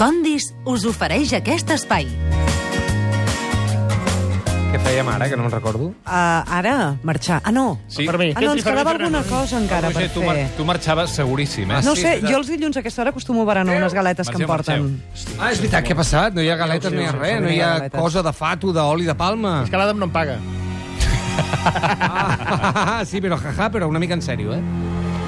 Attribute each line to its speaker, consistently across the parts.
Speaker 1: Condis us ofereix aquest espai.
Speaker 2: Què fèiem ara, que no me'n recordo?
Speaker 3: Uh, ara, marxar. Ah, no.
Speaker 2: Sí.
Speaker 4: Per mi.
Speaker 3: Ah, no, ens
Speaker 4: Per mi,
Speaker 3: quedava
Speaker 4: per mi.
Speaker 3: alguna cosa encara
Speaker 2: Roger,
Speaker 3: per
Speaker 2: tu, mar
Speaker 3: fer.
Speaker 2: tu marxaves seguríssim, eh?
Speaker 3: No sé, jo els dilluns a aquesta hora acostumo a berenar unes galetes que em porten.
Speaker 2: Ah, és veritat, què ha passat? No hi ha galetes, no hi ha res, no hi ha
Speaker 3: galetes.
Speaker 2: cosa de fato, d'oli de palma.
Speaker 4: És que l'Adam no em paga.
Speaker 2: Ah, sí, però jaja, però una mica en sèrio, eh?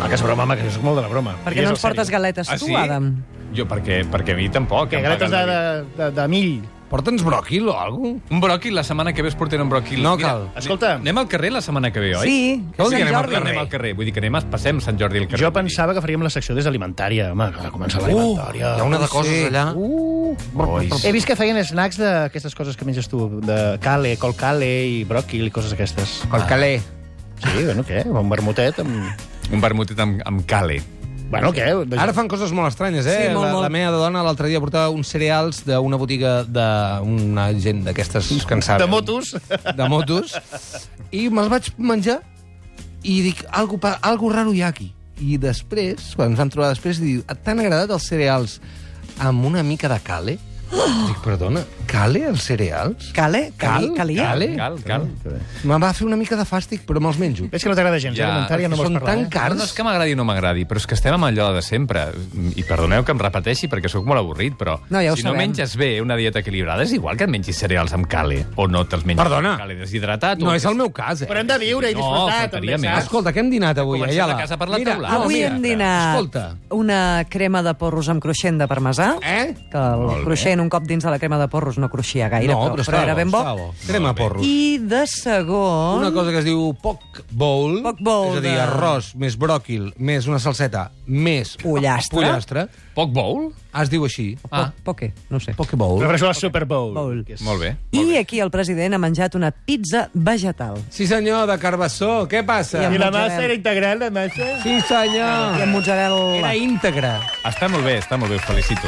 Speaker 4: Ah, que és broma, home, que jo soc molt de la broma.
Speaker 3: Per què no ens portes galetes tu, Adam?
Speaker 2: Ah, Jo, perquè, perquè a mi tampoc.
Speaker 4: Que
Speaker 2: em
Speaker 4: galetes de,
Speaker 2: paguen
Speaker 4: de,
Speaker 2: la
Speaker 4: de, de mill.
Speaker 2: vida. Porta'ns bròquil o alguna
Speaker 5: Un bròquil, la setmana que ve es porten un bròquil.
Speaker 2: No
Speaker 5: Mira,
Speaker 2: cal.
Speaker 4: Escolta.
Speaker 5: Anem al carrer la setana que ve, oi?
Speaker 3: Sí,
Speaker 2: Què vol dir
Speaker 3: Sant
Speaker 2: que anem,
Speaker 3: Jordi.
Speaker 2: al, anem al carrer? Vull dir que anem, passem Sant Jordi al carrer.
Speaker 4: Jo pensava que faríem la secció des alimentària, home, que comença
Speaker 2: Uh, hi
Speaker 4: l'alimentària.
Speaker 2: ha una de coses allà.
Speaker 4: Uh, he vist que feien snacks d'aquestes coses que menges tu, de cale, col cale i bròquil i coses aquestes.
Speaker 2: Col caler.
Speaker 4: Sí, bueno, què? Un vermutet amb...
Speaker 5: Un vermutet amb, amb cale.
Speaker 4: Bueno, què?
Speaker 2: Ara fan coses molt estranyes, eh?
Speaker 3: Sí, molt,
Speaker 2: la,
Speaker 3: molt.
Speaker 2: la meva dona l'altre dia portava uns cereals d'una botiga d'una gent d'aquestes que en saben.
Speaker 4: De motos.
Speaker 2: De motos. I me'ls vaig menjar i dic, algo, pa- algo raro hi ha aquí. I després, quan ens vam trobar després, diu, et t'han agradat els cereals amb una mica de cale? Oh! Dic, perdona, cale els cereals?
Speaker 3: Cale? Cali? Calia?
Speaker 2: Cale?
Speaker 5: Cal, cal.
Speaker 2: Me va fer una mica de fàstic, però me'ls menjo.
Speaker 4: Veig que no t'agrada gens,
Speaker 5: Ja,
Speaker 4: ja, alimentària, no vols
Speaker 2: Són
Speaker 4: parlar.
Speaker 2: tan
Speaker 4: eh?
Speaker 5: No,
Speaker 2: cars.
Speaker 5: no és que m'agradi o no m'agradi, però és que estem amb allò de sempre. I perdoneu que em repeteixi perquè sóc molt avorrit, però
Speaker 3: No, ja ho
Speaker 5: si no
Speaker 3: sabem.
Speaker 5: menges bé una dieta equilibrada és igual que et mengis cereals amb cale o no te'ls mengis
Speaker 2: Perdona.
Speaker 5: amb cale deshidratat. o
Speaker 2: No és
Speaker 5: que-
Speaker 2: el meu cas, eh?
Speaker 4: Però hem de viure i
Speaker 5: No,
Speaker 4: disfrutar,
Speaker 5: faltaria
Speaker 4: també,
Speaker 5: més.
Speaker 4: saps?
Speaker 2: Escolta, què hem dinat avui?
Speaker 5: Comencem
Speaker 2: eh,
Speaker 5: la casa per la
Speaker 2: Mira,
Speaker 5: teula.
Speaker 2: no,
Speaker 3: Ah, Avui
Speaker 2: mira,
Speaker 3: hem dinat
Speaker 2: Escolta.
Speaker 3: una crema de porros amb cruixent de parmesà,
Speaker 2: Eh?
Speaker 3: que el cruixent un cop dins de la crema de porros no cruixia gaire,
Speaker 2: no,
Speaker 3: però,
Speaker 2: però, estava
Speaker 3: era ben bo.
Speaker 2: estava bo. Crema porros.
Speaker 3: I de segon...
Speaker 2: Una cosa que es diu poc bowl,
Speaker 3: Poc
Speaker 2: és
Speaker 3: bowl
Speaker 2: a dir,
Speaker 3: de-
Speaker 2: arròs més bròquil més una salseta més
Speaker 3: Pollastre.
Speaker 2: pollastre
Speaker 5: Poc bowl?
Speaker 2: es diu així.
Speaker 3: Ah. Poque, no ho sé.
Speaker 2: Poc bowl.
Speaker 4: Refereixo al Super Bowl.
Speaker 3: Bowl.
Speaker 4: que és-
Speaker 5: Molt bé.
Speaker 3: I aquí el president ha menjat una pizza vegetal.
Speaker 2: Sí, senyor, de Carbassó, què passa?
Speaker 3: I
Speaker 4: I la
Speaker 3: Mozzarella.
Speaker 4: massa era integral, la massa?
Speaker 2: Sí,
Speaker 3: I
Speaker 2: senyor.
Speaker 3: amb mozzarella...
Speaker 2: Era íntegre.
Speaker 5: Està molt bé, està molt bé, us felicito.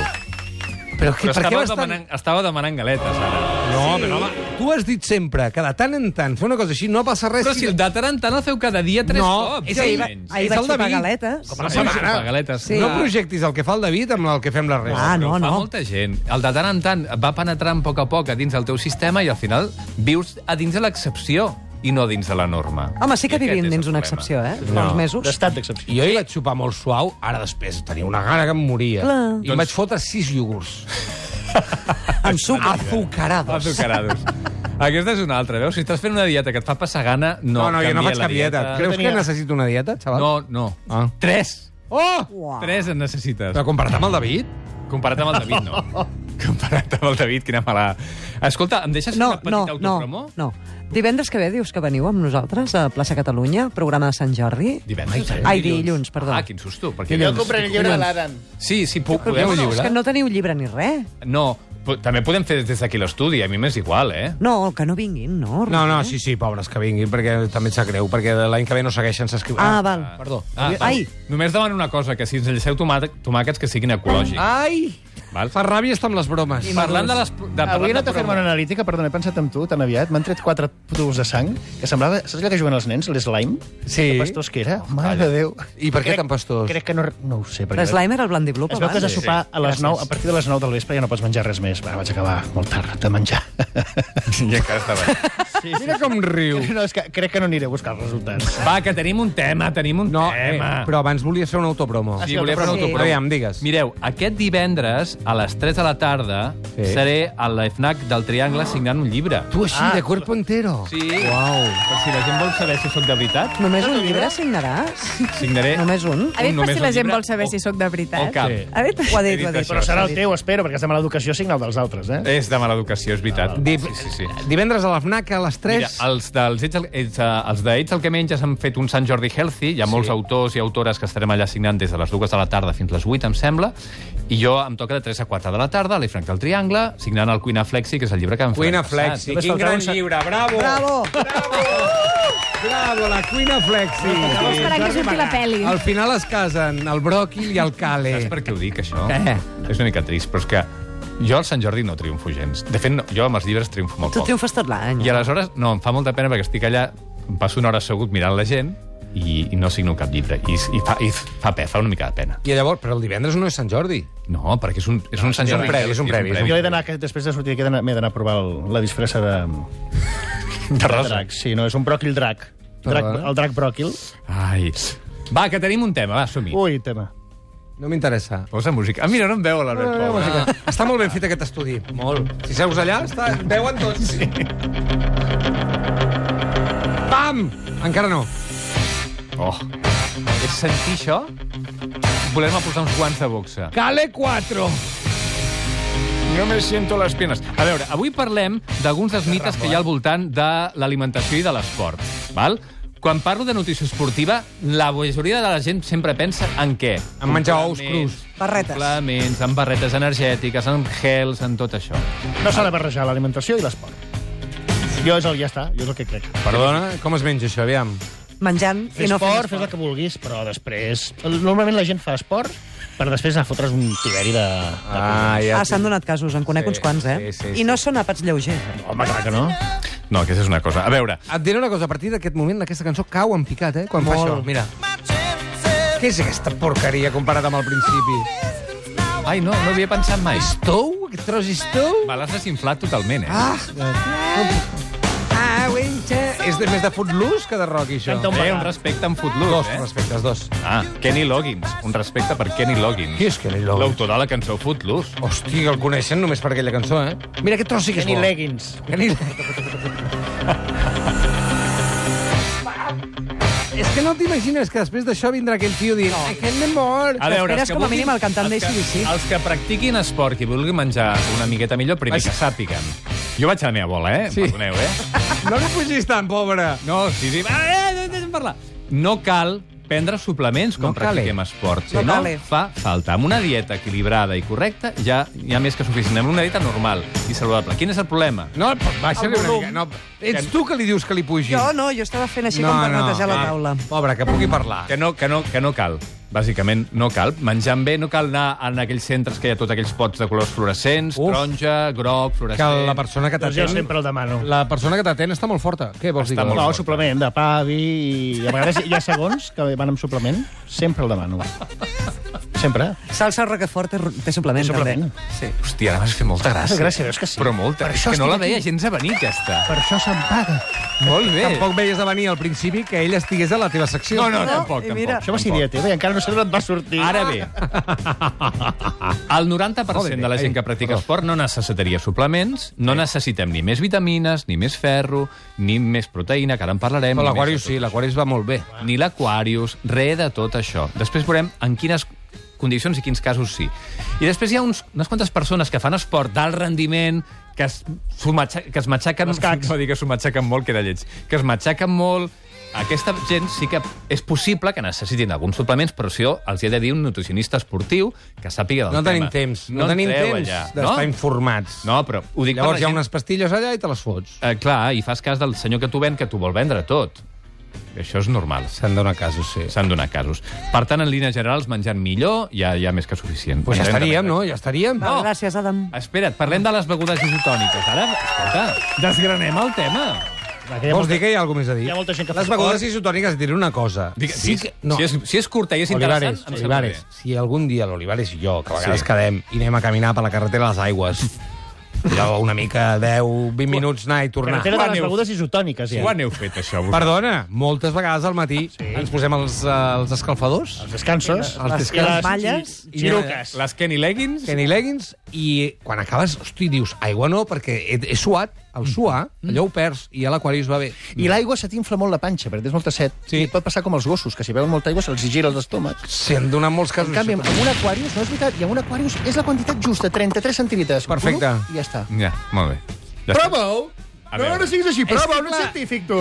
Speaker 2: Però, que,
Speaker 5: Però
Speaker 2: per què
Speaker 5: estava,
Speaker 2: vas tan...
Speaker 5: demanant, estava demanant galetes, ara.
Speaker 2: No, però home, tu has dit sempre que de tant en tant fer una cosa així no passa res.
Speaker 5: Però si el de tant en tant el feu cada dia tres
Speaker 2: No,
Speaker 5: cops.
Speaker 2: és
Speaker 3: ahir, va-
Speaker 5: almenys.
Speaker 3: ahir
Speaker 2: És
Speaker 3: vaig
Speaker 2: el
Speaker 3: sopar
Speaker 2: David.
Speaker 3: galetes.
Speaker 2: Com a
Speaker 5: Ahir vaig
Speaker 2: setmana.
Speaker 5: sopar galetes.
Speaker 3: Sí.
Speaker 2: No projectis el que fa el David amb el que fem la resta.
Speaker 3: Ah,
Speaker 5: Però
Speaker 3: no,
Speaker 5: ho fa
Speaker 3: no.
Speaker 5: molta gent. El de tant en tant va penetrant a poc a poc a dins del teu sistema i al final vius a dins de l'excepció i no dins de la norma.
Speaker 3: Home, sí que
Speaker 5: I aquest
Speaker 3: vivim
Speaker 5: és el
Speaker 3: dins una
Speaker 5: problema.
Speaker 3: excepció, eh? Fa uns mesos.
Speaker 4: D'estat d'excepció.
Speaker 2: Jo hi vaig sopar molt suau, ara després tenia una gana que em moria.
Speaker 3: Clar.
Speaker 2: I
Speaker 5: Doncs-
Speaker 2: em vaig fotre sis iogurts.
Speaker 3: Amb sucre.
Speaker 2: Azucarados.
Speaker 5: Ah, Azucarados. Aquesta és una altra, veus? Si estàs fent una dieta que et fa passar gana, no,
Speaker 2: No, no, jo no
Speaker 5: canvia
Speaker 2: faig
Speaker 5: la
Speaker 2: cap dieta.
Speaker 4: Jo
Speaker 2: Creus
Speaker 4: tenia-
Speaker 2: que necessito una dieta, xaval?
Speaker 5: No, no.
Speaker 2: Ah.
Speaker 5: Tres.
Speaker 2: Oh!
Speaker 3: Uau.
Speaker 5: Tres en necessites.
Speaker 2: Però comparat amb el David?
Speaker 5: Comparat amb el David, no. Comparat amb el David, quina mala... Escolta, em deixes
Speaker 3: No,
Speaker 5: fer una petita
Speaker 3: no,
Speaker 5: autopromo?
Speaker 3: no, no. Divendres que ve dius que veniu amb nosaltres a Plaça Catalunya, programa de Sant Jordi.
Speaker 5: Divendres.
Speaker 3: Ai, dilluns, perdó.
Speaker 5: Ah, quin susto. Perquè
Speaker 4: Jo compraré el llibre de l'Adam.
Speaker 5: Sí, sí, puc,
Speaker 3: Però
Speaker 5: podeu
Speaker 3: no, és
Speaker 5: lliure.
Speaker 3: que no teniu llibre ni res.
Speaker 5: No, po- també podem fer des d'aquí l'estudi, a mi m'és igual, eh?
Speaker 3: No, que no vinguin, no.
Speaker 2: No, no, sí, sí, pobres, que vinguin, perquè també et sap greu, perquè l'any que ve no segueixen s'escriurà.
Speaker 3: Ah, val.
Speaker 2: Perdó.
Speaker 5: Ah, val.
Speaker 3: Ai.
Speaker 5: Només demano una cosa, que si ens lleceu tomàte- tomàquets que siguin ecològics.
Speaker 2: Ai!
Speaker 5: Val?
Speaker 2: Fa ràbia estar amb les bromes.
Speaker 5: Parlant de les... De,
Speaker 4: Avui he
Speaker 5: parlant
Speaker 4: anat
Speaker 5: de
Speaker 4: a fer-me una
Speaker 5: bromes.
Speaker 4: analítica, perdona, he pensat en tu tan aviat. M'han tret quatre tubos de sang, que semblava... Saps allò que juguen els nens, l'eslime?
Speaker 2: Sí.
Speaker 4: Que pastós que era? Mare de Déu.
Speaker 2: I per què
Speaker 4: Crec-
Speaker 2: tan pastós?
Speaker 4: Crec que no, no ho sé. perquè-
Speaker 3: L'Slime era el Blandi Blue,
Speaker 4: Es veu que has de
Speaker 3: abans.
Speaker 4: sopar a, les 9, a partir de les 9 del vespre ja no pots menjar res més. Va, vaig acabar molt tard de menjar.
Speaker 5: Ja encara està bé.
Speaker 2: Mira com riu.
Speaker 4: No, és que crec que no aniré a buscar els resultats.
Speaker 5: Va, que tenim un tema, tenim un
Speaker 2: No, eh,
Speaker 5: tema.
Speaker 2: però abans volia fer una autopromo.
Speaker 5: Sí, volia fer una
Speaker 3: Sí.
Speaker 5: autopromo.
Speaker 2: Aviam, digues.
Speaker 5: Mireu, aquest divendres, a les 3 de la tarda,
Speaker 2: Sí.
Speaker 5: seré a la FNAC del Triangle signant un llibre.
Speaker 2: Tu així,
Speaker 4: Ah.
Speaker 2: de cuerpo entero.
Speaker 5: Sí.
Speaker 2: Uau.
Speaker 5: Per si la gent vol saber si sóc de veritat,
Speaker 3: Només un llibre signaràs?
Speaker 5: signaré...
Speaker 3: Només un?
Speaker 6: A veure
Speaker 5: Eh? Només
Speaker 6: per si la
Speaker 5: el
Speaker 6: gent
Speaker 5: llibre
Speaker 6: vol saber
Speaker 5: o-
Speaker 6: si sóc de veritat.
Speaker 5: O cap.
Speaker 2: Sí.
Speaker 3: A veure, ho ha dit, ho ha
Speaker 5: He dit
Speaker 3: dit.
Speaker 4: Però serà el teu, espero, perquè has de mala educació signa el dels altres, eh?
Speaker 5: Oh. És de mala educació, és veritat.
Speaker 2: Di-
Speaker 5: Sí, sí, sí.
Speaker 2: Divendres a la FNAC a les 3.
Speaker 5: Mira, els dels Ets, el- ets, eh, els de Ets el que menges han fet un Sant Jordi Healthy. Hi ha molts autors i autores que estarem allà signant des de les dues de la tarda fins les 8, em sembla. I jo em toca de 3 a 4 de la tarda, a l'Efranc del Triangle, signant el Cuina Flexi, que és el llibre que em
Speaker 2: Cuina Flexi.
Speaker 4: Només
Speaker 2: Quin
Speaker 4: faltava
Speaker 2: gran
Speaker 4: un sa-
Speaker 2: llibre. Bravo.
Speaker 3: Bravo!
Speaker 2: Bravo, la Cuina Flexi.
Speaker 6: Cal esperar que surti la pel·li.
Speaker 2: Al final es casen el bròquil i el cale.
Speaker 5: Saps per què ho dic, això?
Speaker 3: Eh?
Speaker 2: Què?
Speaker 5: És una mica trist, però és que jo al Sant Jordi no triomfo gens. De fet, no, jo amb els llibres triomfo molt
Speaker 3: Tu
Speaker 5: poc.
Speaker 3: triomfes tot l'any.
Speaker 5: I aleshores, no, em fa molta pena perquè estic allà, em passo una hora assegut mirant la gent, i, i no signo cap llibre. I, i, fa, i fa, pe, fa una mica de pena.
Speaker 2: I llavors, però el divendres no és Sant Jordi.
Speaker 5: No, perquè és un, és un
Speaker 2: Ah,
Speaker 5: Sant
Speaker 2: és un
Speaker 5: Jordi.
Speaker 2: previ, és un previ, és un
Speaker 4: Jo he d'anar, que després de sortir d'aquí, he d'anar- m'he d'anar a provar el, la disfressa de,
Speaker 5: De
Speaker 4: de
Speaker 5: rosa.
Speaker 4: drac. Sí, no, és un bròquil drac. drac
Speaker 2: Però, eh?
Speaker 4: el drac bròquil.
Speaker 5: Ai. Va, que tenim un tema, va,
Speaker 2: Oh.
Speaker 5: som-hi.
Speaker 4: Ui, tema.
Speaker 2: No m'interessa.
Speaker 5: Posa música. Ah, mira, no em veu l'Albert Pou.
Speaker 2: Ah. Està molt ben fet aquest estudi.
Speaker 5: Ah.
Speaker 2: Molt. Si seus allà, està... veuen tots. Sí. Pam! Encara no.
Speaker 5: Oh. És sentir això? Volem posar uns guants de boxa.
Speaker 2: Cale 4.
Speaker 5: No me siento las piernas. A veure, avui parlem d'alguns dels mites que hi ha al voltant de l'alimentació i de l'esport. Val? Quan parlo de nutrició esportiva, la majoria de la gent sempre pensa en què?
Speaker 2: En menjar ous crus.
Speaker 3: Barretes.
Speaker 5: Suplements, en barretes energètiques, en gels, en tot això.
Speaker 4: No s'ha de barrejar l'alimentació i l'esport. Jo és el ja està, jo és el que crec.
Speaker 2: Perdona, com es menja això, aviam?
Speaker 3: Menjant
Speaker 4: Fes
Speaker 3: i no
Speaker 4: esport,
Speaker 3: fent
Speaker 4: fes el
Speaker 3: esport.
Speaker 4: que vulguis, però després... Normalment la gent fa esport per després anar a fotre's un tiberi de... de...
Speaker 2: Ah, ja...
Speaker 3: Ah, s'han donat casos, en conec
Speaker 2: Sí,
Speaker 3: uns quants,
Speaker 2: sí,
Speaker 3: eh?
Speaker 2: sí, sí.
Speaker 3: I no són àpats lleugers.
Speaker 4: Home, clar que no.
Speaker 5: No, aquesta és una cosa. A veure,
Speaker 2: Et diré una cosa, a partir d'aquest moment aquesta cançó cau en picat, eh? Quan Molt. fa això, mira. Què és aquesta porqueria comparat amb el principi?
Speaker 5: ai, no, no havia pensat mai.
Speaker 2: Tou? Que tros és tou?
Speaker 5: Me l'has desinflat totalment, eh?
Speaker 2: Ah! Ah, winter. És de, més de Footloose que de rock, això.
Speaker 4: Canta un
Speaker 5: Eh,
Speaker 4: vegà.
Speaker 5: un respecte en
Speaker 2: Dos
Speaker 5: Footloose, eh?
Speaker 2: respectes, dos.
Speaker 5: Ah, Kenny Loggins. Un respecte per Kenny Loggins.
Speaker 2: Qui és Kenny Loggins?
Speaker 5: L'autor de la cançó Footloose.
Speaker 2: Hosti, el coneixen només per aquella cançó, eh? Mira, aquest tros sí que és
Speaker 4: Kenny
Speaker 2: bo.
Speaker 4: Leggings.
Speaker 2: Kenny Leggings. És que no t'imagines que després d'això vindrà aquell tio dient aquest m'he mort.
Speaker 5: A veure,
Speaker 3: T'esperes
Speaker 5: els que
Speaker 3: com a
Speaker 5: vulguin-
Speaker 3: mínim el cantant
Speaker 5: els que-
Speaker 3: d'ACDC.
Speaker 5: Els que practiquin esport i vulguin menjar una miqueta millor, primer
Speaker 2: Vaig-
Speaker 5: que sàpiguen. Jo vaig a la meva bola, eh?
Speaker 2: Sí.
Speaker 5: Perdoneu, eh?
Speaker 2: No li pugis tant, pobre.
Speaker 5: No, sí, sí. Ah, eh, eh, deixa'm parlar. No cal prendre suplements com
Speaker 2: No cal, eh?
Speaker 5: practiquem esport.
Speaker 3: No
Speaker 5: no
Speaker 3: cal, eh?
Speaker 5: fa falta. Amb una dieta equilibrada i correcta ja hi ha més que suficient. Amb una dieta normal i saludable. Quin és el problema?
Speaker 2: No, baixa-li una
Speaker 3: volum.
Speaker 2: mica. No, ets tu que li dius que li pugi.
Speaker 3: Jo no, jo estava fent així com per netejar la
Speaker 2: va.
Speaker 3: taula.
Speaker 2: Ah, Pobre, que pugui parlar.
Speaker 5: Que no, que, no, que no cal. Bàsicament, no cal. Menjant bé, no cal anar en aquells centres que hi ha tots aquells pots de colors fluorescents,
Speaker 2: Uf.
Speaker 5: Uf. taronja, groc,
Speaker 2: Que
Speaker 5: fluorescent...
Speaker 2: la persona que
Speaker 4: Doncs jo
Speaker 2: t'atén...
Speaker 4: sempre el demano.
Speaker 2: La persona que t'atén està molt forta. Què vols
Speaker 5: Està
Speaker 2: dir?
Speaker 5: molt
Speaker 4: No,
Speaker 5: fort.
Speaker 4: suplement de pa, vi... I a vegades hi ha segons que van amb suplement. Sempre el demano. Sempre.
Speaker 3: Salsa Roquefort té, té suplement,
Speaker 4: Té suplement.
Speaker 3: també. Sí.
Speaker 5: Hòstia, ara m'has fet molta gràcia.
Speaker 4: Gràcies, veus que sí?
Speaker 5: Però molta.
Speaker 4: Per
Speaker 5: És
Speaker 4: això
Speaker 5: que no la
Speaker 4: estic
Speaker 5: veia
Speaker 4: aquí.
Speaker 5: gens a venir, aquesta.
Speaker 4: Per això se'n paga.
Speaker 5: Molt bé.
Speaker 2: Tampoc veies de venir al principi que ell estigués a la teva secció.
Speaker 5: No, no, tampoc,
Speaker 3: i mira-
Speaker 5: tampoc.
Speaker 4: Això va ser idea teva i encara no sé d'on et va sortir.
Speaker 5: Ara bé, el 90% de la gent que practica esport no necessitaria suplements, no necessitem ni més vitamines, ni més ferro, ni més proteïna, que ara en parlarem.
Speaker 2: Però
Speaker 5: ni més de
Speaker 2: l'Aquarius
Speaker 5: tot
Speaker 2: sí, l'Aquarius va molt bé.
Speaker 5: ni l'Aquarius, res de tot això. Després veurem en quines condicions i quins casos sí. I després hi ha uns, unes quantes persones que fan esport d'alt rendiment, que es, sumatxa- que es matxaquen...
Speaker 4: Els cacs.
Speaker 5: No dir que s'ho matxaquen molt, que era lleig. Que es matxaquen molt... Aquesta gent sí que és possible que necessitin alguns suplements, però si jo els hi he de dir un nutricionista esportiu que sàpiga del
Speaker 2: No
Speaker 5: tema.
Speaker 2: tenim temps. No,
Speaker 5: en
Speaker 2: tenim
Speaker 5: treu
Speaker 2: temps
Speaker 5: allà,
Speaker 2: d'estar informats.
Speaker 5: No? no, però ho
Speaker 2: Llavors
Speaker 5: dic
Speaker 2: hi
Speaker 5: per la
Speaker 2: ha
Speaker 5: gent
Speaker 2: unes pastilles allà i te les fots.
Speaker 5: Eh, clar, i fas cas del senyor que t'ho ven, que t'ho vol vendre tot. Això és normal.
Speaker 2: Se'n dona casos, sí.
Speaker 5: S'han donat casos. Per tant, en línies generals, menjant millor ja hi ha més que suficient.
Speaker 2: Pues ja
Speaker 5: Menjant
Speaker 2: estaríem,
Speaker 5: de
Speaker 2: no?
Speaker 5: merda.
Speaker 2: Ja estaríem.
Speaker 3: Va,
Speaker 5: No.
Speaker 3: Ah, Gràcies, Adam.
Speaker 5: Espera't, parlem de les begudes isotòniques. Ara, escolta, desgranem el tema.
Speaker 4: Va, que hi ha
Speaker 2: Vols
Speaker 4: molta-
Speaker 2: dir que hi ha alguna més a dir?
Speaker 4: Hi ha molta gent que fa
Speaker 2: Les begudes
Speaker 4: esport.
Speaker 2: isotòniques, et diré una cosa.
Speaker 5: Digue,
Speaker 2: Sí que- no.
Speaker 5: si, és, si és curta i és
Speaker 2: Olivares,
Speaker 5: interessant, em sembla
Speaker 2: Olivares,
Speaker 5: bé.
Speaker 2: si algun dia l'Olivares i jo, que a vegades
Speaker 5: Sí.
Speaker 2: sí. quedem i anem a caminar per la carretera de les aigües, allò una mica 10, 20 minuts anar i tornar.
Speaker 4: Carretera de
Speaker 5: Quan
Speaker 4: les
Speaker 5: heu-
Speaker 4: begudes isotòniques, ja.
Speaker 5: Ho aneu fet, això? vosaltres?
Speaker 2: Perdona, moltes vegades al matí sí. ens posem els, eh, els escalfadors,
Speaker 4: Els descansos.
Speaker 2: Els
Speaker 4: i
Speaker 2: descansos.
Speaker 3: Malles.
Speaker 4: gi- Giruques.
Speaker 5: Les Kenny Leggings?
Speaker 2: Kenny Leggings, i quan acabes, hosti, dius, aigua no, perquè he, he suat, al suar, allò ho perds, i a l'Aquarius va bé.
Speaker 4: I l'aigua se t'infla molt la panxa, perquè tens molta set.
Speaker 2: Sí.
Speaker 4: I pot passar com els gossos, que si beuen molta aigua se'ls gira l'estómac.
Speaker 2: S'han donat molts
Speaker 4: En
Speaker 2: casos.
Speaker 4: canvi,
Speaker 2: això.
Speaker 4: amb un Aquarius, no és veritat, i amb un Aquarius és la quantitat justa, 33 centilitres.
Speaker 2: Perfecte.
Speaker 4: Glup, I ja està.
Speaker 5: Ja, molt bé. Ja està.
Speaker 4: Prova-ho!
Speaker 5: A
Speaker 4: No,
Speaker 5: veure.
Speaker 4: no siguis així,
Speaker 2: És que
Speaker 4: prova-ho, no
Speaker 2: clar-
Speaker 4: ets científic, tu.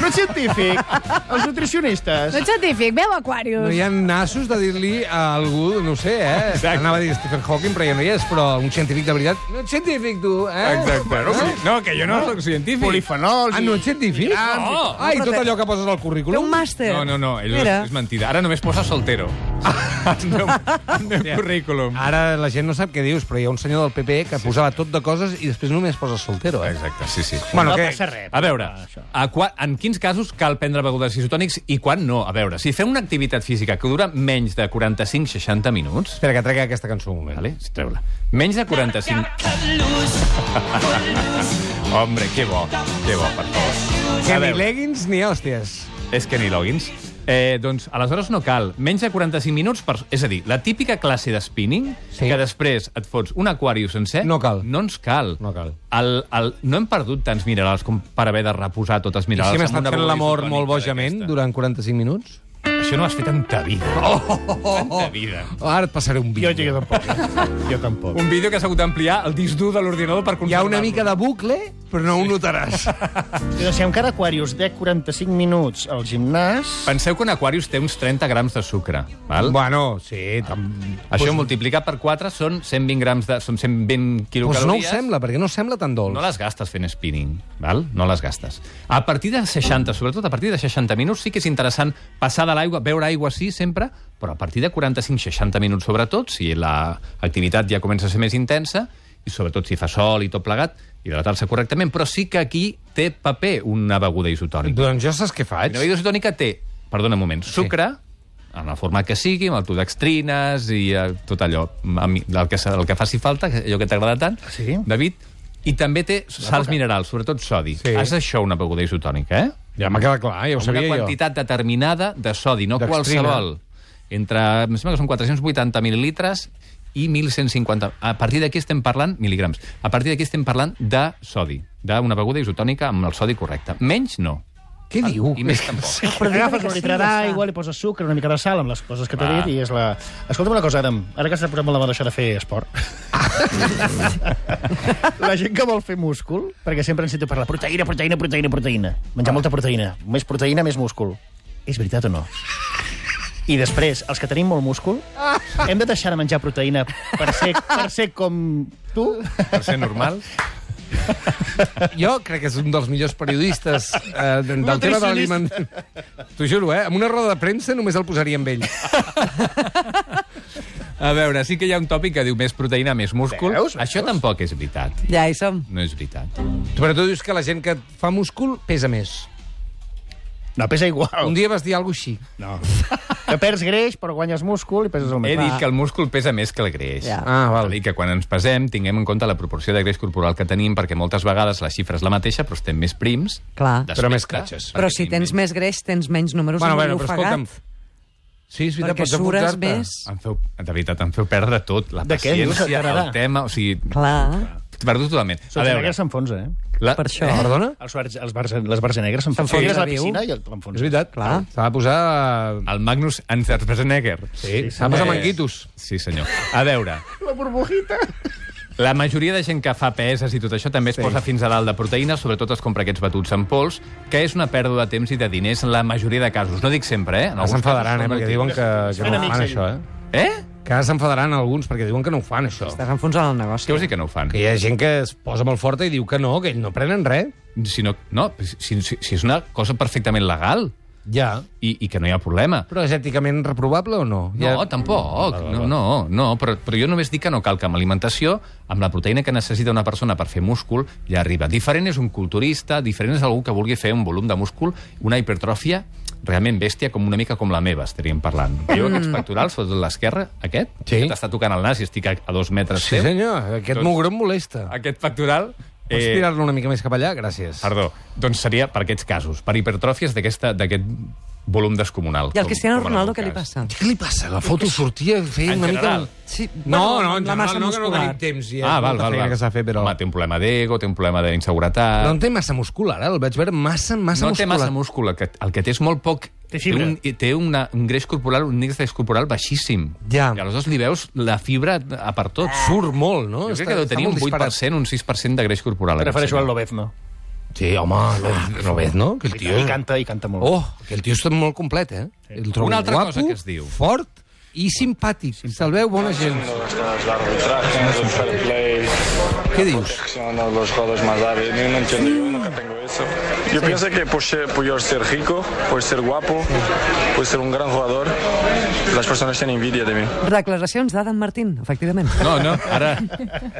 Speaker 4: No ets científic. Els nutricionistes.
Speaker 6: No ets científic, veu Aquarius.
Speaker 2: No hi ha nassos de dir-li a algú, no ho sé, eh? Exacte. Anava a dir Stephen Hawking, però ja no hi és, però un científic de veritat... No ets científic, tu, eh?
Speaker 5: Exacte. No, no, que jo no sóc científic.
Speaker 4: Polifenols.
Speaker 2: Ah, no ets científic?
Speaker 5: No.
Speaker 2: Ai, tot allò que poses al
Speaker 3: Té un
Speaker 2: currículum?
Speaker 3: màster.
Speaker 5: No, no, no, ell
Speaker 3: Mira,
Speaker 5: és mentida. Ara només posa soltero. El meu, el meu currículum.
Speaker 2: Ara la gent no sap què dius, però hi ha un senyor del PP que posava tot de coses i després només posa soltero, eh?
Speaker 5: Exacte, sí, sí.
Speaker 2: Bueno,
Speaker 4: no
Speaker 2: que-
Speaker 4: passa res.
Speaker 5: A veure,
Speaker 4: Això.
Speaker 5: a qua, en quins casos cal prendre begudes isotònics i quan no? A veure, si fem una activitat física que dura menys de 45-60 minuts...
Speaker 2: Espera, que trec aquesta cançó un moment.
Speaker 5: Vale, sí, treu-la. Menys de 45... Hombre, que bo, que bo, per favor.
Speaker 2: Que
Speaker 5: A
Speaker 2: ni
Speaker 5: veure.
Speaker 2: leggings ni hòsties.
Speaker 5: És que ni logins. Eh, doncs, aleshores no cal. Menys de 45 minuts, per... és a dir, la típica classe de spinning,
Speaker 2: Sí.
Speaker 5: sí. que després et fots un aquarius sencer...
Speaker 2: No cal.
Speaker 5: No ens cal.
Speaker 2: No cal.
Speaker 5: El, el... No hem perdut tants minerals com per haver de reposar tot els
Speaker 2: I
Speaker 5: minerals.
Speaker 2: si hem
Speaker 5: amb
Speaker 2: estat
Speaker 5: una
Speaker 2: fent
Speaker 5: beguda
Speaker 2: l'amor
Speaker 5: isotònica
Speaker 2: molt bojament
Speaker 5: d'aquesta.
Speaker 2: durant 45 minuts?
Speaker 5: Això no ho has fet en ta vida. Oh, oh, oh, oh. En ta vida.
Speaker 2: Ara et passaré un vídeo.
Speaker 4: tampoc. jo tampoc.
Speaker 5: Un vídeo que has hagut d'ampliar el disc dur de l'ordinador per
Speaker 2: Hi ha una
Speaker 5: conservar-lo.
Speaker 2: mica de bucle, però no ho notaràs.
Speaker 4: Però si encara Aquarius de 45 minuts al gimnàs...
Speaker 5: Penseu que un Aquarius té uns 30 grams de sucre, val?
Speaker 2: Bueno, sí, tam...
Speaker 5: Això multiplicat per 4 són 120 grams de... són 120
Speaker 2: Pues
Speaker 5: quilocalories.
Speaker 2: Doncs no ho sembla, perquè no sembla tan dolç.
Speaker 5: No les gastes fent spinning, val? No les gastes. A partir de 60, sobretot a partir de 60 minuts, sí que és interessant passar de l'aigua, beure aigua sí, sempre, però a partir de 45-60 minuts, sobretot, si l'activitat ja comença a ser més intensa, i sobretot si fa sol i tot plegat, hidratar-se correctament. Però sí que aquí té paper una beguda isotònica.
Speaker 2: Doncs jo saps què faig?
Speaker 5: Una beguda isotònica té, perdona un moment, sucre, en la forma que sigui, amb altodextrines i eh, tot allò, a mi- del que, se- del que faci falta, que- allò que t'agrada tant,
Speaker 4: Sí.
Speaker 5: David, i també té salts minerals, sobretot sodi.
Speaker 2: Sí.
Speaker 5: Sí. És això una beguda isotònica, eh?
Speaker 2: Ja m'ha quedat clar, ja ho
Speaker 5: Amb una
Speaker 2: sabia jo.
Speaker 5: quantitat determinada de sodi, no
Speaker 2: Dextrina.
Speaker 5: qualsevol. Entre, em sembla que són 480 mil·lilitres i 1.150. A partir d'aquí estem parlant, mil·ligrams, a partir d'aquí estem parlant de sodi, d'una beguda isotònica amb el sodi correcte. Menys no.
Speaker 2: Què diu?
Speaker 5: I més tampoc.
Speaker 4: Però agafes
Speaker 3: que
Speaker 4: un
Speaker 3: sí, ja
Speaker 4: litre
Speaker 3: està.
Speaker 4: d'aigua, li poses sucre, una mica de sal amb les coses que t'he
Speaker 5: Va.
Speaker 4: dit i és la... Escolta'm una cosa, Adam, ara que s'ha posat molt la mà deixar de fer esport. la gent que vol fer múscul, perquè sempre ens sento parlar proteïna, proteïna, proteïna, proteïna. Menjar molta proteïna. Més proteïna, més múscul. És veritat o no? I després, els que tenim molt múscul, hem de deixar de menjar proteïna per ser, per ser com tu?
Speaker 5: Per ser normal.
Speaker 2: Jo crec que és un dels millors periodistes eh, de- del tema de l'aliment. T'ho juro, eh? Amb una roda de premsa només el posaria amb ell.
Speaker 5: A veure, sí que hi ha un tòpic que diu més proteïna, més múscul.
Speaker 4: Veus?
Speaker 5: Això tampoc és veritat.
Speaker 3: Ja hi som.
Speaker 5: No és veritat.
Speaker 2: Però tu dius que la gent que fa múscul pesa més.
Speaker 4: No, pesa igual.
Speaker 2: Un dia vas dir alguna cosa així.
Speaker 4: No. Que perds greix, però guanyes múscul i peses el
Speaker 5: He
Speaker 4: més.
Speaker 5: dit que el múscul pesa més que el greix.
Speaker 3: Ja.
Speaker 2: Ah, val.
Speaker 5: I que quan ens pesem tinguem en compte la proporció de greix corporal que tenim, perquè moltes vegades la xifra és la mateixa, però estem més prims.
Speaker 3: Clar.
Speaker 5: d'aspecte,
Speaker 2: Però més catxes.
Speaker 5: perquè
Speaker 3: Ah. Però si
Speaker 5: tenim
Speaker 3: tens més greix, tens menys números
Speaker 2: Bueno,
Speaker 3: bueno,
Speaker 2: bueno,
Speaker 3: bueno,
Speaker 2: però
Speaker 3: ofegat.
Speaker 2: escolta'm, Sí, és veritat,
Speaker 3: Perquè
Speaker 2: pots
Speaker 3: sures
Speaker 2: enfonsar-te.
Speaker 3: més.
Speaker 5: Em feu, de veritat, em feu perdre tot. La
Speaker 4: De què? Dius que
Speaker 5: paciència,
Speaker 4: t'agrada.
Speaker 5: el tema... O sigui,
Speaker 3: Clar.
Speaker 5: perdut totalment.
Speaker 4: Sota negra s'enfonsa, eh?
Speaker 5: la,
Speaker 3: Per això.
Speaker 2: Perdona?
Speaker 4: Els bars, els bars, les bars negres
Speaker 2: S'enfonsa
Speaker 4: s'enfonsen a la
Speaker 2: viu.
Speaker 4: piscina i el-
Speaker 2: És
Speaker 4: l'enfonsen.
Speaker 2: veritat.
Speaker 3: Clar.
Speaker 2: S'ha de posar...
Speaker 5: El Magnus Schwarzenegger.
Speaker 2: Sí, s'ha de posar manguitos.
Speaker 5: Sí, senyor. A veure,
Speaker 4: La burbujita.
Speaker 5: La majoria de gent que fa peses i tot això també es sí. posa fins a dalt de proteïnes, sobretot es compra aquests batuts en pols, que és una pèrdua de temps i de diners en la majoria de casos. No dic sempre, eh? En
Speaker 2: Ara
Speaker 5: alguns
Speaker 2: s'enfadaran,
Speaker 5: casos
Speaker 2: eh,
Speaker 5: són
Speaker 2: perquè
Speaker 5: útils.
Speaker 2: diuen que, que no ho
Speaker 4: amics,
Speaker 2: fan,
Speaker 4: ell.
Speaker 2: això, eh?
Speaker 5: Eh?
Speaker 2: Que ara s'enfadaran alguns perquè diuen que no ho fan, això.
Speaker 3: Estàs enfonsant el negoci.
Speaker 5: Què vols dir que no ho fan?
Speaker 2: Que hi ha gent que es posa molt forta i diu que no, que ells no prenen res.
Speaker 5: Si no, no si, si, si és una cosa perfectament legal
Speaker 2: Ja.
Speaker 5: i, i que no hi ha problema.
Speaker 2: Però és èticament reprovable o no?
Speaker 5: No, tampoc. No, no, no però, però jo només dic que no cal que amb alimentació, amb la proteïna que necessita una persona per fer múscul, ja arriba. Diferent és un culturista, diferent és algú que vulgui fer un volum de múscul, una hipertròfia realment bèstia, com una mica com la meva, estaríem parlant. Veieu aquests pectorals, sobretot l'esquerra, aquest?
Speaker 2: Mm. Sí.
Speaker 5: Que t'està tocant el nas i estic a, a dos metres
Speaker 2: Sí,
Speaker 5: teu.
Speaker 2: senyor, aquest
Speaker 5: Doncs-
Speaker 2: mugró em molesta.
Speaker 5: Aquest pectoral... eh,
Speaker 2: Pots tirar-lo una mica més cap allà? Gràcies.
Speaker 5: Perdó. Doncs seria per aquests casos, per hipertròfies d'aquesta- d'aquest volum descomunal.
Speaker 3: I al
Speaker 5: com-
Speaker 3: Cristiano
Speaker 5: com en
Speaker 3: Ronaldo
Speaker 5: algun
Speaker 3: què li
Speaker 5: cas.
Speaker 3: passa?
Speaker 2: Què li passa? La foto sortia feia
Speaker 5: En
Speaker 2: una
Speaker 5: general.
Speaker 2: mica...
Speaker 3: Sí,
Speaker 2: No, no, en
Speaker 3: la
Speaker 2: general
Speaker 3: massa
Speaker 2: no, que no
Speaker 3: muscular.
Speaker 2: tenim temps. Hi ha
Speaker 5: Ah, val,
Speaker 2: molta
Speaker 5: val,
Speaker 2: feina
Speaker 5: val.
Speaker 2: que s'ha de fer, però...
Speaker 5: Home, té un problema d'ego, té un problema d'inseguretat...
Speaker 2: No en té massa múscul, ara. El vaig veure massa, massa
Speaker 5: Ah. no
Speaker 2: múscul.
Speaker 5: té massa múscul, el que, el que té és molt poc...
Speaker 4: Té fibra.
Speaker 5: Té, un, té una, un greix corporal, un índex corporal baixíssim.
Speaker 2: Ja.
Speaker 5: I aleshores li veus la fibra a per tot.
Speaker 2: Surt molt, no?
Speaker 5: Jo crec que deu tenir un 8%, un 6% de greix corporal. eh, aquest
Speaker 4: Prefereixo
Speaker 5: senyor.
Speaker 4: el Lobezno.
Speaker 2: Sí, home, López, López, no? Que el
Speaker 4: I
Speaker 2: tio...
Speaker 4: canta, i canta molt.
Speaker 2: Oh, que el tio està molt complet, eh? El trobo
Speaker 5: Una altra
Speaker 2: guapo,
Speaker 5: cosa que es diu.
Speaker 2: fort i simpàtic. Salveu bona gent.
Speaker 7: los arbitrajes, el fair play,
Speaker 2: Què dius?
Speaker 7: son los jugadores más hábiles. Yo no entiendo, yo nunca tengo eso. Yo pienso que por ser, por yo ser rico, por ser guapo, por ser un gran jugador, Las personas tienen envidia de mí.
Speaker 3: Declaracions d'Adam Martín, efectivament.
Speaker 5: No, no, ara...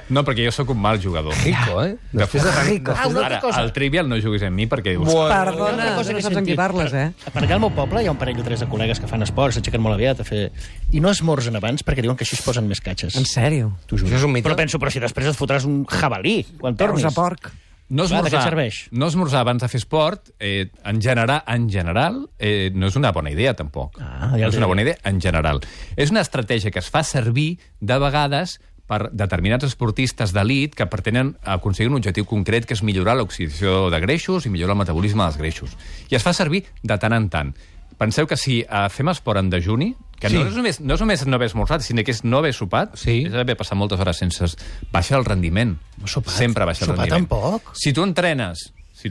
Speaker 5: No, perquè jo sóc un mal jugador.
Speaker 2: Rico, eh? Després de tant...
Speaker 3: Rico.
Speaker 2: després de-
Speaker 5: Ara, al Trivial no juguis amb mi perquè dius...
Speaker 2: Bueno.
Speaker 3: Perdona,
Speaker 4: Una
Speaker 3: tu
Speaker 4: cosa
Speaker 3: no
Speaker 4: que he
Speaker 3: saps amb qui
Speaker 4: sentit.
Speaker 3: parles, eh?
Speaker 4: Per allà al meu poble hi ha un parell o tres de col·legues que fan esport, s'aixequen molt aviat a fer... I no esmorzen abans perquè diuen que així es posen més catxes.
Speaker 3: En sèrio.
Speaker 2: Tu jugues un mite?
Speaker 4: Però penso, però si després et fotràs un jabalí quan
Speaker 3: Peus
Speaker 4: tornis.
Speaker 3: a porc.
Speaker 5: No
Speaker 4: Clar, de què
Speaker 5: esmorzar,
Speaker 4: et serveix?
Speaker 5: no esmorzar abans de fer esport, eh, en general, en general eh, no és una bona idea, tampoc.
Speaker 4: Ah, ja
Speaker 5: no és
Speaker 4: t'he dit.
Speaker 5: una bona idea, en general. És una estratègia que es fa servir de vegades per determinats esportistes d'elit que pretenen aconseguir un objectiu concret que és millorar l'oxidació de greixos i millorar el metabolisme dels greixos. I es fa servir de tant en tant. Penseu que si eh, fem esport en dejuni, que sí. no,
Speaker 2: Sí.
Speaker 5: és només, no és només no haver esmorzat, sinó que és no haver sopat,
Speaker 2: Sí.
Speaker 5: és haver passat moltes hores sense... Baixa el rendiment.
Speaker 4: sopat.
Speaker 5: Sempre baixa el
Speaker 4: Sopar
Speaker 5: rendiment.
Speaker 4: tampoc.
Speaker 5: Si tu entrenes... Si...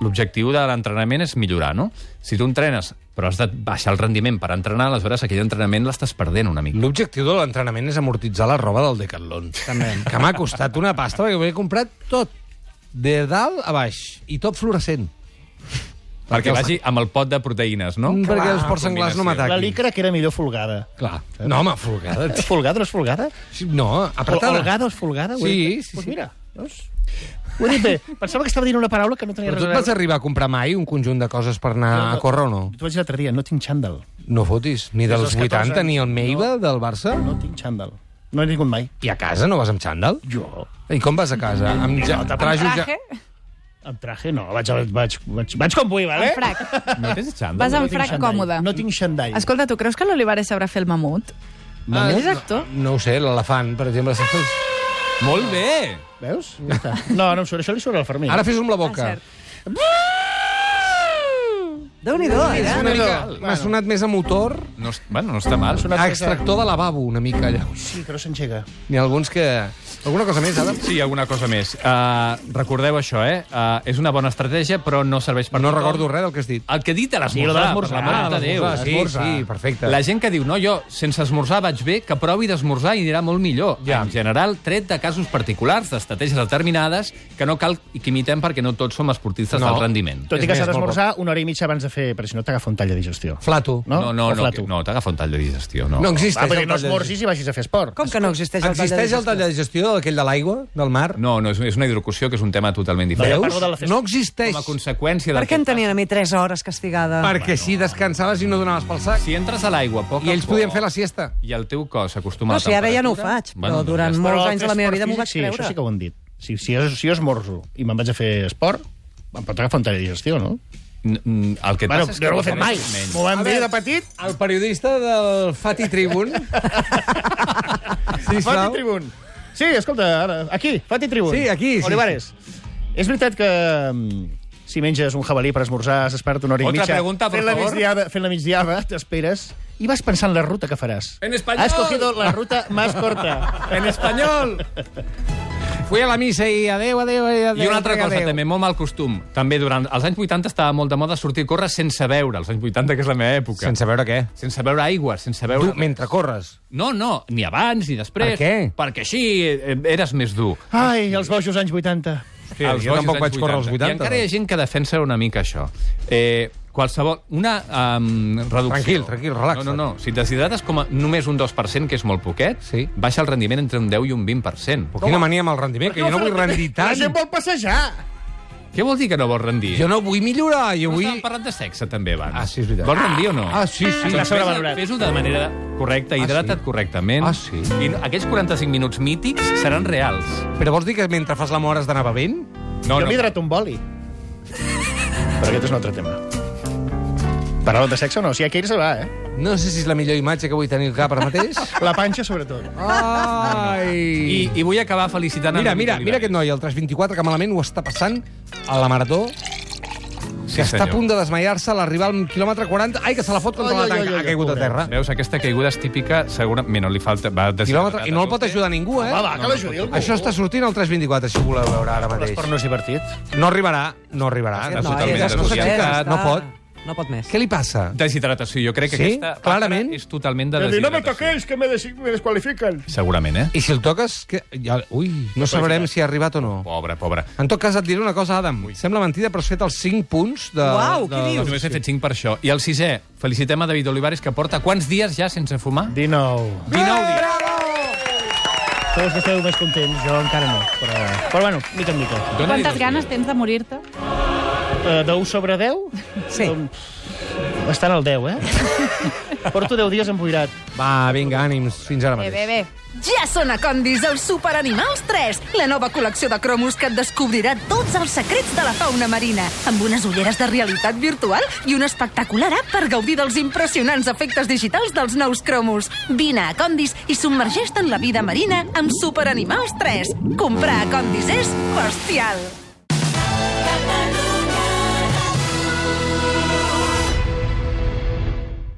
Speaker 5: L'objectiu de l'entrenament és millorar, no? Si tu entrenes, però has de baixar el rendiment per entrenar, aleshores aquell entrenament l'estàs perdent una mica.
Speaker 2: L'objectiu de l'entrenament és amortitzar la roba del Decathlon. També. Que m'ha costat una pasta, perquè m'he comprat tot, de dalt a baix, i tot fluorescent.
Speaker 5: Perquè vagi amb el pot de proteïnes, no?
Speaker 2: Mm, perquè els porcs
Speaker 5: combinació.
Speaker 2: senglars no m'ataquen.
Speaker 4: La licra que era millor folgada.
Speaker 2: Clar. No, home, folgada. tio.
Speaker 4: Folgada no és folgada?
Speaker 2: Sí, No, apretada.
Speaker 4: Holgada o és folgada? Ho he
Speaker 2: Sí,
Speaker 4: dit bé?
Speaker 2: sí,
Speaker 4: Pues
Speaker 2: sí.
Speaker 4: mira, veus? Ho he dit bé. Pensava que estava dient una paraula que no tenia
Speaker 2: Però tu et
Speaker 4: res a
Speaker 2: vas
Speaker 4: veure.
Speaker 2: arribar a comprar mai un conjunt de coses per anar
Speaker 4: No, no.
Speaker 2: a córrer o no?
Speaker 4: T'ho vaig dir l'altre dia, no tinc xandall.
Speaker 2: No fotis. Ni
Speaker 4: Des
Speaker 2: dels
Speaker 4: dels 14
Speaker 2: 80, ni el
Speaker 4: anys.
Speaker 2: Meiva del Barça?
Speaker 4: No tinc xandall. No he vingut mai.
Speaker 2: I a casa no vas amb xandall?
Speaker 4: Jo,
Speaker 2: I com vas a casa? Amb ja,
Speaker 4: no,
Speaker 2: trajos ja...
Speaker 6: Traje,
Speaker 4: amb traje, no, vaig, vaig, vaig, vaig com vull, vale?
Speaker 6: en frac.
Speaker 5: No tens xandall?
Speaker 6: Vas
Speaker 4: No
Speaker 6: en
Speaker 4: tinc
Speaker 6: frac
Speaker 4: xandall.
Speaker 6: còmode.
Speaker 4: No tinc xandall.
Speaker 6: Escolta, tu creus que l'Olivares sabrà fer el mamut?
Speaker 2: Ah,
Speaker 6: És actor? Ah,
Speaker 2: No, no ho sé, l'elefant, per exemple.
Speaker 5: Molt bé!
Speaker 4: Veus? Ja està. No, no em surt, això li surt al Fermí.
Speaker 2: Ara fes-ho amb la boca.
Speaker 6: ah, cert.
Speaker 3: Déu-n'hi-do, eh?
Speaker 6: Ah,
Speaker 2: Una mica...
Speaker 5: Bueno.
Speaker 2: M'ha sonat més a motor,
Speaker 5: No, es- bueno, no està mal.
Speaker 4: Una
Speaker 2: a
Speaker 4: cosa-
Speaker 2: extractor de lavabo, una mica, allà.
Speaker 4: Sí, però s'engega.
Speaker 2: N'hi ha alguns que... Alguna cosa més, Adam?
Speaker 5: Sí, alguna cosa més. Uh, recordeu això, eh? Uh, és una bona estratègia, però no serveix per
Speaker 2: No
Speaker 5: tothom.
Speaker 2: recordo res del que has dit.
Speaker 5: El que he dit a
Speaker 4: Sí, lo de
Speaker 5: l'esmorzar, per
Speaker 4: l'esmorzar,
Speaker 5: la mare de Déu.
Speaker 2: l'esmorzar, sí, sí, perfecte.
Speaker 5: La gent que diu, no, jo sense esmorzar vaig bé, que provi d'esmorzar i anirà molt millor.
Speaker 2: Ja.
Speaker 5: En general, tret de casos particulars, d'estratègies determinades, que no cal i que imitem perquè no tots som esportistes
Speaker 2: No.
Speaker 5: del rendiment.
Speaker 4: Tot
Speaker 2: És
Speaker 4: i que
Speaker 2: més,
Speaker 4: s'ha
Speaker 2: molt
Speaker 4: d'esmorzar una hora i mitja abans de fer... Però si no t'agafa un tall de digestió.
Speaker 2: Flato.
Speaker 4: No?
Speaker 5: no, no,
Speaker 4: O
Speaker 5: no,
Speaker 4: flato.
Speaker 5: no t'agafa un tall de digestió. No,
Speaker 2: No existeix.
Speaker 4: Va, perquè no
Speaker 2: el tall de
Speaker 4: esmorzis i vagis a fer esport.
Speaker 3: Com que no existeix el tall de
Speaker 2: Existeix el
Speaker 3: digestió?
Speaker 2: tall de digestió, aquell de l'aigua, del mar?
Speaker 5: no, no és, és una hidrocució que és un tema totalment
Speaker 4: Veus?
Speaker 5: diferent.
Speaker 4: parlo de la festa.
Speaker 2: No existeix.
Speaker 5: Com a conseqüència del
Speaker 3: Per què en
Speaker 5: que
Speaker 3: tenien a mi 3 hores castigada?
Speaker 2: Perquè si descansaves i no donaves pel sac,
Speaker 5: Si entres a l'aigua a poc
Speaker 2: i ells
Speaker 5: a poc,
Speaker 2: podien fer la siesta.
Speaker 5: I el teu cos s'acostuma
Speaker 3: No,
Speaker 5: a la
Speaker 3: si ara ja no ho
Speaker 5: temperatura-
Speaker 3: faig, però
Speaker 5: doncs
Speaker 3: durant
Speaker 5: ja està.
Speaker 3: molts
Speaker 4: Però
Speaker 3: anys de
Speaker 4: fer
Speaker 3: la meva
Speaker 4: esport
Speaker 3: vida m'ho vaig
Speaker 4: físic,
Speaker 3: creure.
Speaker 4: Sí, això sí que ho han dit. Si, si, jo, si jo esmorzo i me'n vaig a fer esport, em pot agafar un tall de digestió, no?
Speaker 5: N- n- El que
Speaker 4: Bueno,
Speaker 5: passa és que
Speaker 4: jo no ho he fet mai.
Speaker 5: requereix menys.
Speaker 4: M'ho van
Speaker 2: A
Speaker 4: dir
Speaker 2: veure,
Speaker 4: de petit.
Speaker 2: El periodista del Fati Tribune...
Speaker 4: Fati
Speaker 2: sisplau.
Speaker 4: Tribun. Sí, escolta, ara, aquí, Fati Tribun.
Speaker 2: Sí, aquí, sí.
Speaker 4: Olivares. És veritat que mm, si menges un jabalí per esmorzar, s'espera una hora i
Speaker 5: Otra
Speaker 4: mitja.
Speaker 5: pregunta, por
Speaker 4: fent la
Speaker 5: favor.
Speaker 4: migdiada, fent la migdiada, t'esperes i vas pensant la ruta que faràs.
Speaker 5: En español.
Speaker 4: Has cogido la ruta más corta.
Speaker 2: En espanyol! Fui a la missa i adeu, adeu, adeu.
Speaker 5: I una altra
Speaker 2: adeu,
Speaker 5: cosa,
Speaker 2: adeu.
Speaker 5: també, molt mal costum. També durant els anys 80 estava molt de moda sortir a córrer sense beure, els anys 80, que és la meva època.
Speaker 2: Sense veure què.
Speaker 5: sense beure aigua, sense
Speaker 2: Tu,
Speaker 5: beure...
Speaker 2: mentre corres.
Speaker 5: No, no, ni abans ni després.
Speaker 2: Per què?
Speaker 5: Perquè així eh, eres més dur.
Speaker 4: Ai, els bojos anys 80.
Speaker 2: Sí,
Speaker 5: Els
Speaker 2: jo
Speaker 5: bojos
Speaker 2: tampoc
Speaker 5: anys
Speaker 2: vaig córrer als doncs. 80.
Speaker 5: I encara hi ha gent que defensa una mica això. Eh, qualsevol... Una um, reducció...
Speaker 2: Tranquil, tranquil, relaxa't.
Speaker 5: No, no, no. Si et deshidrates com a només un 2%, que és molt poquet,
Speaker 2: Sí.
Speaker 5: baixa el rendiment entre un 10 i un 20%.
Speaker 2: Però quina mania amb el rendiment, que jo no vull rendir
Speaker 4: La gent
Speaker 2: tant.
Speaker 4: vol passejar.
Speaker 5: Què vol dir que no vols rendir?
Speaker 2: Jo no vull millorar, jo
Speaker 5: Avui...
Speaker 2: vull...
Speaker 5: Estàvem parlant de sexe, també, abans.
Speaker 2: Ah, sí, és veritat.
Speaker 5: Vols rendir o no?
Speaker 2: Ah, sí, sí.
Speaker 4: Està
Speaker 5: Doncs
Speaker 4: sobrevalorat.
Speaker 5: fes- Fes-ho de manera correcta, hidrata't
Speaker 2: sí?
Speaker 5: correctament.
Speaker 2: Ah, sí?
Speaker 5: I no- aquells 45 minuts mítics seran reals.
Speaker 2: Però vols dir que mentre fas l'amor has d'anar bevent?
Speaker 4: jo
Speaker 5: No, no.
Speaker 4: m'he hidratat un boli. Però aquest és un altre tema. Parlàvem de sexe o no? Si hi ha que ir, se va, eh?
Speaker 2: No sé si és la millor imatge que vull tenir al cap ara mateix.
Speaker 4: La panxa, sobretot.
Speaker 2: Eh? Ai!
Speaker 5: I, I vull acabar felicitant...
Speaker 2: Mira,
Speaker 5: el David
Speaker 2: mira, mira
Speaker 5: Olivares.
Speaker 2: aquest noi, el 324, que malament ho està passant a la marató,
Speaker 5: Sí,
Speaker 2: que està a
Speaker 5: senyor.
Speaker 2: punt de desmaiar-se a l'arribar al quilòmetre 40. Ai, que se la fot contra
Speaker 4: Ai,
Speaker 2: la
Speaker 4: ai,
Speaker 2: tanca.
Speaker 4: ai, ai,
Speaker 2: Ha caigut a
Speaker 4: pobret.
Speaker 2: terra.
Speaker 5: Veus, aquesta caiguda és típica, segurament... No li falta... Va
Speaker 2: Quilòmetre... I no el pot ajudar ningú,
Speaker 4: Va,
Speaker 2: eh?
Speaker 4: va, que l'ajudi algú.
Speaker 2: Això està sortint al 324, si ho voleu veure ara mateix.
Speaker 4: L'esport no és divertit.
Speaker 2: No arribarà, no arribarà.
Speaker 3: eh,
Speaker 5: Aquest noi
Speaker 2: No
Speaker 5: és
Speaker 2: s'aixeca,
Speaker 5: desorientat,
Speaker 2: no pot.
Speaker 3: No pot més.
Speaker 2: Què li passa?
Speaker 5: Deshidratació. Jo crec que
Speaker 2: Sí?
Speaker 5: aquesta pàtera
Speaker 2: Clarament.
Speaker 5: és totalment de
Speaker 4: Que dir, no me
Speaker 5: deshidratació.
Speaker 4: toquéis, que me, des me desqualifiquen.
Speaker 5: Segurament, eh?
Speaker 2: I si el toques... Que... Ja... Ui, no sabrem si ha arribat o no.
Speaker 5: Pobre, pobre.
Speaker 2: En tot cas, et diré una cosa, Adam. Sembla mentida, però has fet els 5 punts de...
Speaker 3: Uau,
Speaker 2: de...
Speaker 3: què dius?
Speaker 5: Només he fet 5 per això. I el sisè, felicitem a David Olivares, que porta quants dies ja sense fumar?
Speaker 4: 19.
Speaker 5: 19 dies.
Speaker 4: Tots esteu més contents, jo encara no. Però, però bueno, mica en mica.
Speaker 5: Dona-li
Speaker 6: Quantes
Speaker 5: dos
Speaker 6: ganes
Speaker 5: dies.
Speaker 6: tens de morir-te?
Speaker 4: Eh, de 1 sobre 10?
Speaker 3: Sí.
Speaker 4: Doncs, Bastant al 10, eh? Porto 10 dies emboirat.
Speaker 2: Va, vinga, ànims, fins ara
Speaker 6: Bé,
Speaker 2: mateix.
Speaker 6: bé, bé.
Speaker 1: Ja són a Condis els Superanimals 3, la nova col·lecció de cromos que et descobrirà tots els secrets de la fauna marina, amb unes ulleres de realitat virtual i un espectacular app per gaudir dels impressionants efectes digitals dels nous cromos. Vine a Condis i submergeix-te en la vida marina amb Superanimals 3. Comprar a Condis és bestial.